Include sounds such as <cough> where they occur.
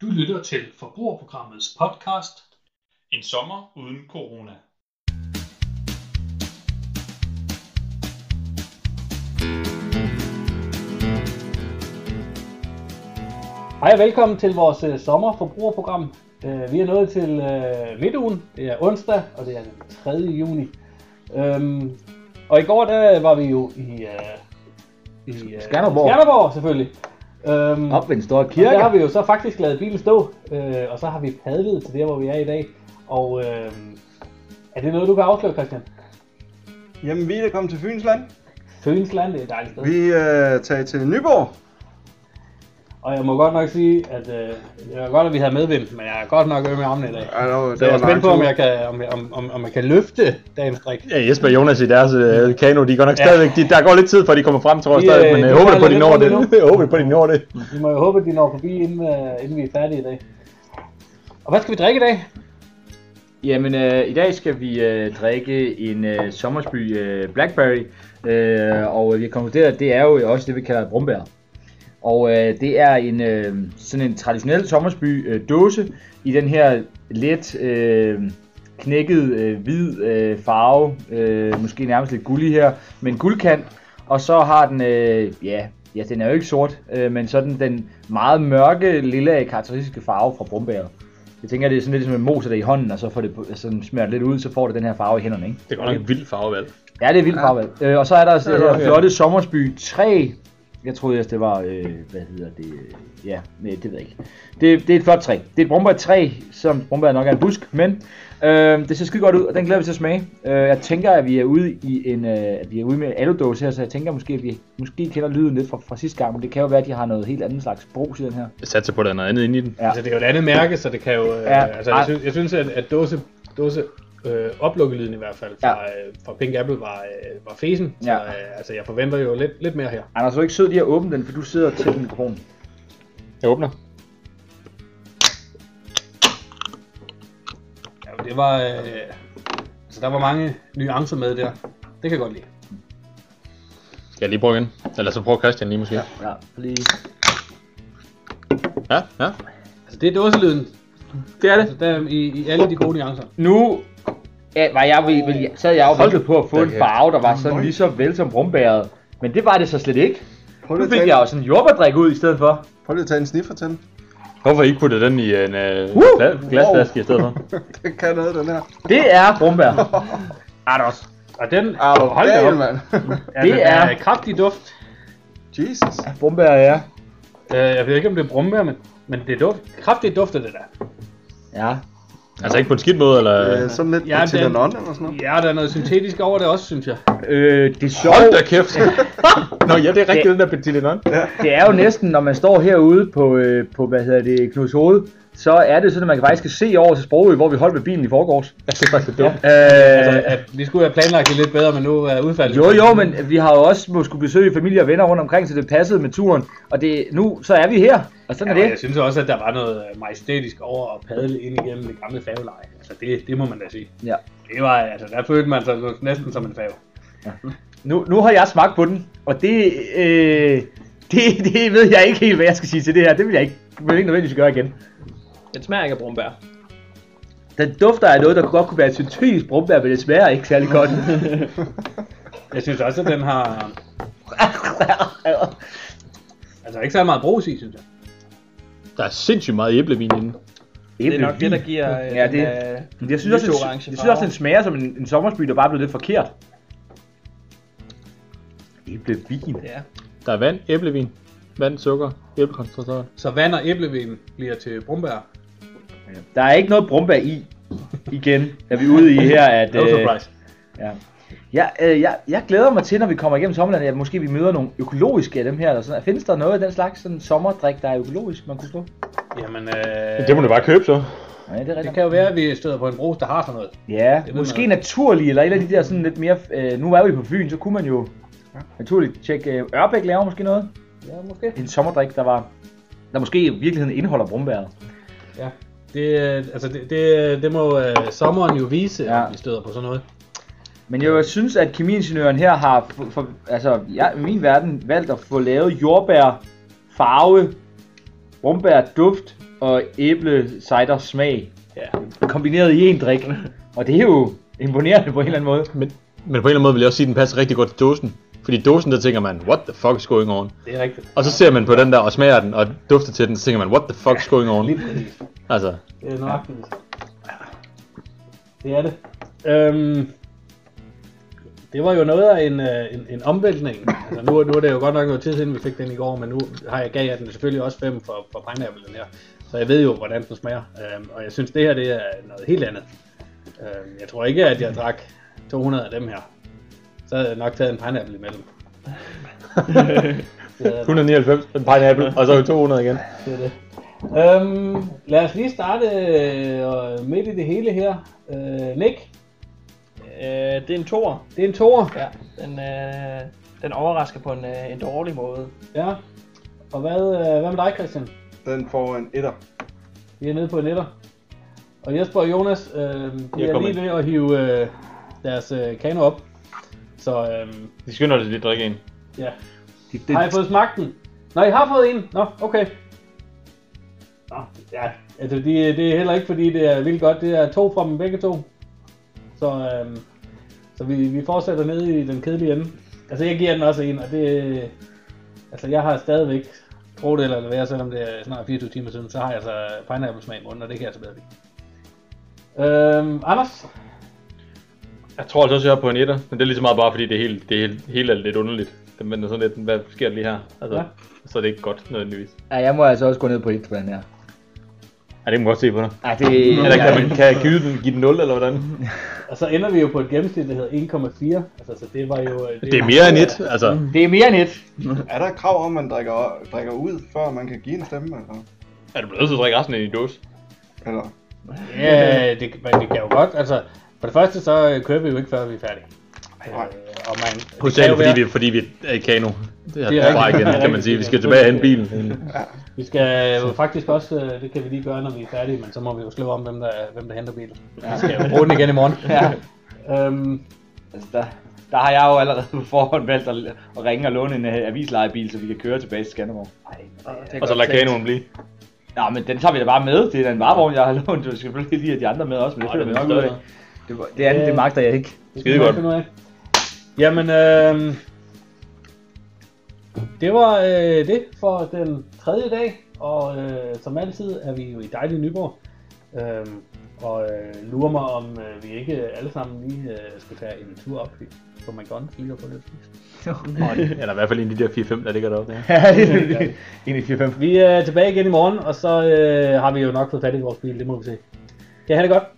lytter til Forbrugerprogrammets podcast En sommer uden corona. Hej og velkommen til vores øh, sommerforbrugerprogram. Øh, vi er nået til øh, midtugen. Det er onsdag, og det er den 3. juni. Øhm, og i går der var vi jo i, øh, i øh, Skanderborg. Skanderborg selvfølgelig. Øhm, Op ved en stor og kirke. der har vi jo så faktisk lavet bilen stå, øh, og så har vi padlet til der, hvor vi er i dag. Og øh, er det noget, du kan afsløre, Christian? Jamen, vi er da kommet til Fynsland. Fønsland, det er et dejligt sted. Vi øh, tager til Nyborg. Og jeg må godt nok sige, at øh, det var godt, at vi havde medvind, men jeg er godt nok øm i armene i dag. Ej, der var, Så jeg er spændt på, om jeg kan, om, jeg- om, om, om jeg kan løfte dagens drik. Ja, Jesper og Jonas i deres øh, kano, de går nok Ja. ja. stadigvæk, de, der går lidt tid, før de kommer frem, tror jeg De, øh, stadig, men de jeg håber falder på, de lidt når rundt det. endnu. Jeg <laughs> håber på, de når det. Vi må jo håbe, at de når forbi, inden, øh, inden vi er færdige i dag. Og hvad skal vi drikke i dag? Jamen, øh, i dag skal vi øh, drikke en øh, Sommersby øh, Blackberry, øh, og øh, vi har konkluderet, at det er jo også det, vi kalder brumbær. Og øh, det er en øh, sådan en traditionel Sommersby øh, dåse i den her let øh, knækket øh, hvid øh, farve, øh, måske nærmest lidt gullig her, men guldkant. Og så har den, øh, ja, ja, den er jo ikke sort, øh, men sådan den meget mørke, lille karakteristiske farve fra brumbæret. Jeg tænker, det er sådan lidt som en moser det i hånden, og så får det på- sådan smørt lidt ud, så får det den her farve i hænderne, ikke? Det er godt nok en vild farvevalg. Ja, det er vildt farvel. Øh, og så er der også det Ja, her ja. flotte Sommersby 3. Jeg troede ellers, det var, øh, hvad hedder det? Ja, nej, det ved jeg ikke. Det, det er et flot træ. Det er et brumbær træ, som brumbær nok er en busk, men øh, det ser skide godt ud, og den glæder vi til at smage. Øh, jeg tænker, at vi er ude i en, øh, at vi er ude med en aludåse her, så jeg tænker måske, at vi måske kender lyden lidt fra, fra sidste gang, men det kan jo være, at de har noget helt andet slags brus i den her. Jeg satser på, at der er noget andet inde i den. Ja. Altså, det er jo et andet mærke, så det kan jo... Øh, Ja. ja. altså, jeg, Ej. synes, jeg synes, at, at dåse, dåse øh, oplukkelyden i hvert fald fra, øh, fra Pink Apple var, øh, var fesen. Så, Ja. øh, altså, jeg forventer jo lidt, lidt mere her. Anders, er du ikke sød lige at åbne den, for du sidder tæt på mikrofonen. Jeg åbner. Ja, det var... Øh, altså, der var mange nuancer med der. Det kan jeg godt lide. Skal jeg lige prøve igen? Eller så prøver Christian lige måske. Ja, Ja, lige. ja. ja. Altså, det er dåselyden. Det er det. Altså, der er i, i alle de gode nuancer. Nu ja, var jeg, vel- vel- sad jeg jo ventet på at få en farve, der var sådan lige så vel som brumbæret. Men det var det så slet ikke. Prøv lige Nu at tage, fik jeg jo sådan en jordbærdrik ud i stedet for. prøv lige at tage en sniffer til <laughs> den. Hvorfor ikke putte den i en øh, Woo! gla- glasflaske i stedet for? Den kan noget, den her. Det er <laughs> brumbær. Anders. Og den, Ah, hvor hold da gal, op, mand. <laughs> ja, Det det er, er- er kraftig duft. Jesus. Brumbær, ja. Øh, jeg ved ikke, om det er brumbær, men, men det er duft. kraftigt dufter det der. Ja. Altså ikke på en skidt måde, eller... Øh, sådan lidt Ja, ja, til den- den ånd eller sådan noget. Ja, der er noget syntetisk over det også, synes jeg. Øh, det er Hold sjovt. da kæft! Nå ja, det er rigtigt, den der Petit Lenon. Det er jo næsten, når man står herude på, øh, på hvad hedder det, Knuds Hoved, så er det sådan, at man faktisk kan se over til Sprogø, hvor vi holdt med bilen i forgårs. Ja, det er faktisk dumt. Øh, Altså, at vi skulle have planlagt det lidt bedre, men nu er udfaldet. Jo, jo, men vi har jo også må skulle besøge familie og venner rundt omkring, så det passede med turen. Og det, nu så er vi her, og sådan Ja, er og jeg det. synes også, at der var noget øh, majestætisk over at padle ind igennem det gamle fageleje. Altså, det, det må man da sige. Ja. Det var, altså, der følte man sig næsten som en fag. Nu, nu har jeg smagt på den, og det, øh, det, det ved jeg ikke helt, hvad jeg skal sige til det her. Det vil jeg ikke, vil jeg ikke nødvendigvis gøre igen. Den smager ikke af brumbær. Den dufter af noget, der godt kunne være et syntetisk brumbær, men det smager ikke særlig <laughs> godt. Jeg synes også, at den har... Altså ikke så meget brus i, synes jeg. Der er sindssygt meget æblevin inde. Det er nok det, der giver øh, Ja, det, den, øh, men jeg synes, også, lyse den- jeg orange synes farve. også, den smager som en, en sommersby, der bare er blevet lidt forkert. Æblevin. det er. Der er vand, æblevin, vand, sukker, æblekoncentrat. Så vand og æblevin bliver til brumbær. Der er ikke noget brumbær i. Igen er vi ude i her, <laughs> at... No øh, surprise. Ja. Jeg, øh, jeg, jeg glæder mig til, når vi kommer igennem sommerlandet, at måske vi møder nogle økologiske af dem her. Eller sådan. Findes der noget af den slags sådan sommerdrik, der er økologisk, man kunne få? Jamen, øh, Det må du bare købe så. Ja, det er det rigtigt. kan jo være, at vi støder på en brus, der har sådan noget. Ja, ved måske naturlige, eller et af de der sådan lidt mere... Øh, nu er vi på Fyn, så kunne man jo naturligt tjekke... Øh, Ørbæk laver måske noget. Ja, måske. En sommerdrik, der var... Der måske i virkeligheden indeholder brumbæret. Det, øh, altså, det, det, det må øh, sommeren jo vise, ja. Ja. at vi støder på sådan noget. Men jeg synes, at kemiingeniøren her har, for, for, altså jeg, i min verden, valgt at få lavet jordbær, farve, brumbær, duft og æble cider smag Ja. kombineret i en drik. Og det er jo imponerende på en eller anden måde. Men, men på en eller anden måde vil jeg også sige, at den passer rigtig godt til dåsen. Fordi i dåsen, der tænker man, what the fuck is going on? Det er rigtigt. Og så ser man på den der og smager den og dufter til den, så tænker man, what the fuck is going on? Lige præcis. Altså, Det er nøjagtigt. Det er det. Øhm, Det var jo noget af en, øh, en, en omvæltning. Altså, nu, nu er det jo godt nok noget tid siden, vi fik den i går, men nu har jeg, gav jeg den selvfølgelig også 5 for, for pineapple den her. Så jeg ved jo, hvordan den smager. Øhm, og jeg synes, det her det er noget helt andet. Øhm, jeg tror ikke, at jeg drak 200 af dem her. Så havde jeg nok taget en pineapple <laughs> imellem. 199 en pineapple, og så 200 igen. det er det. Øhm, lad os lige starte øh, midt i det hele her. Øh, Nick, Øh, det er en tor. det er en toer. Ja. Den, øh, den overrasker på en, øh, en dårlig måde. Ja. Og hvad, øh, hvad med dig, Christian? Den får en etter. Vi er nede på netter. Og Jesper og Jonas, øh, de Jeg er kommer lige ved at hive øh, deres øh, kano op. Så øh, De skynder sig lige at drikke en. ja. Det, Har I fået smagt den? Nå, I har fået en? Nå, okay. Nå, ja. Altså, de, det er heller ikke, fordi det er vildt godt. Det er to fra dem begge to. Så, øhm, så vi, vi fortsætter ned i den kedelige ende. Altså, jeg giver den også en, og det... Altså, jeg har stadigvæk tro det eller lade være, selvom det er snart 24 timer siden, så har jeg så pineapple smag i munden, og det kan jeg så bedre lide. Øhm, Anders? Jeg tror altså også, jeg er på en etter, men det er lige så meget bare fordi, det er helt, det er helt, helt er lidt underligt. Men sådan lidt, hvad sker der lige her? Altså, Ja. ja. Så er det ikke godt nødvendigvis. Ja, jeg må altså også gå ned på et på den her. Ja, det kan man godt se på dig. Ej, det Eller kan, man, kan jeg give den, give den 0, eller hvordan? Og så Altså, ender vi jo på et gennemsnit, der hedder 1,4. Altså, så det var jo... øh, Det er mere end et, altså. det er mere end et. Er der et krav om, at man drikker, drikker ud, før man kan give en stemme? Eller? Er du blevet nødt til at drikke resten af din dåse? eller? Ja, det, men det kan jo godt. Altså, for det første, så øh, kører vi jo ikke, før vi er færdige. Øh, og man, Hovedsageligt, det kan jo fordi vi, fordi vi er i kano. Det Det er, det er er bare rigtigt. igen, Det er kan man rigtigt. sige. Vi skal tilbage hen bilen. Vi skal jo faktisk også, øh, det kan vi lige gøre, når vi er færdige, men så må vi jo slå om, hvem der, hvem der henter bilen. Vi skal jo bruge den igen i morgen. <laughs> Ja. Øhm, Altså, der, der har jeg jo allerede på forhånd valgt at, at ringe og låne en øh, avislejebil, så vi kan køre tilbage til Skanderborg. Og så lader kanoen blive. Nå, men den tager vi da bare med. Det er da en varevogn, jeg har lånt. Du skal selvfølgelig lige have de andre med også, men det Nå, føler vi det er nok ud stadig af. Det, var- det andet, det magter jeg ikke. det skal vi Skide nok godt. finde ud af. Jamen, øh, øhm, Det var øh, det for den tredje dag, og øh, som altid er vi jo i dejlig Nyborg. Øhm, og øh, lurer mig, om øh, vi ikke alle sammen lige øh, skal tage en tur op i- på McDonald's lige og få lidt at spise. Eller i hvert fald en af de der 4-5, der ligger deroppe. Ja. Ja, det er det. 1,45. Vi er tilbage igen i morgen, og så øh, har vi jo nok fået fat i vores bil, det må vi se. Kan I have det godt?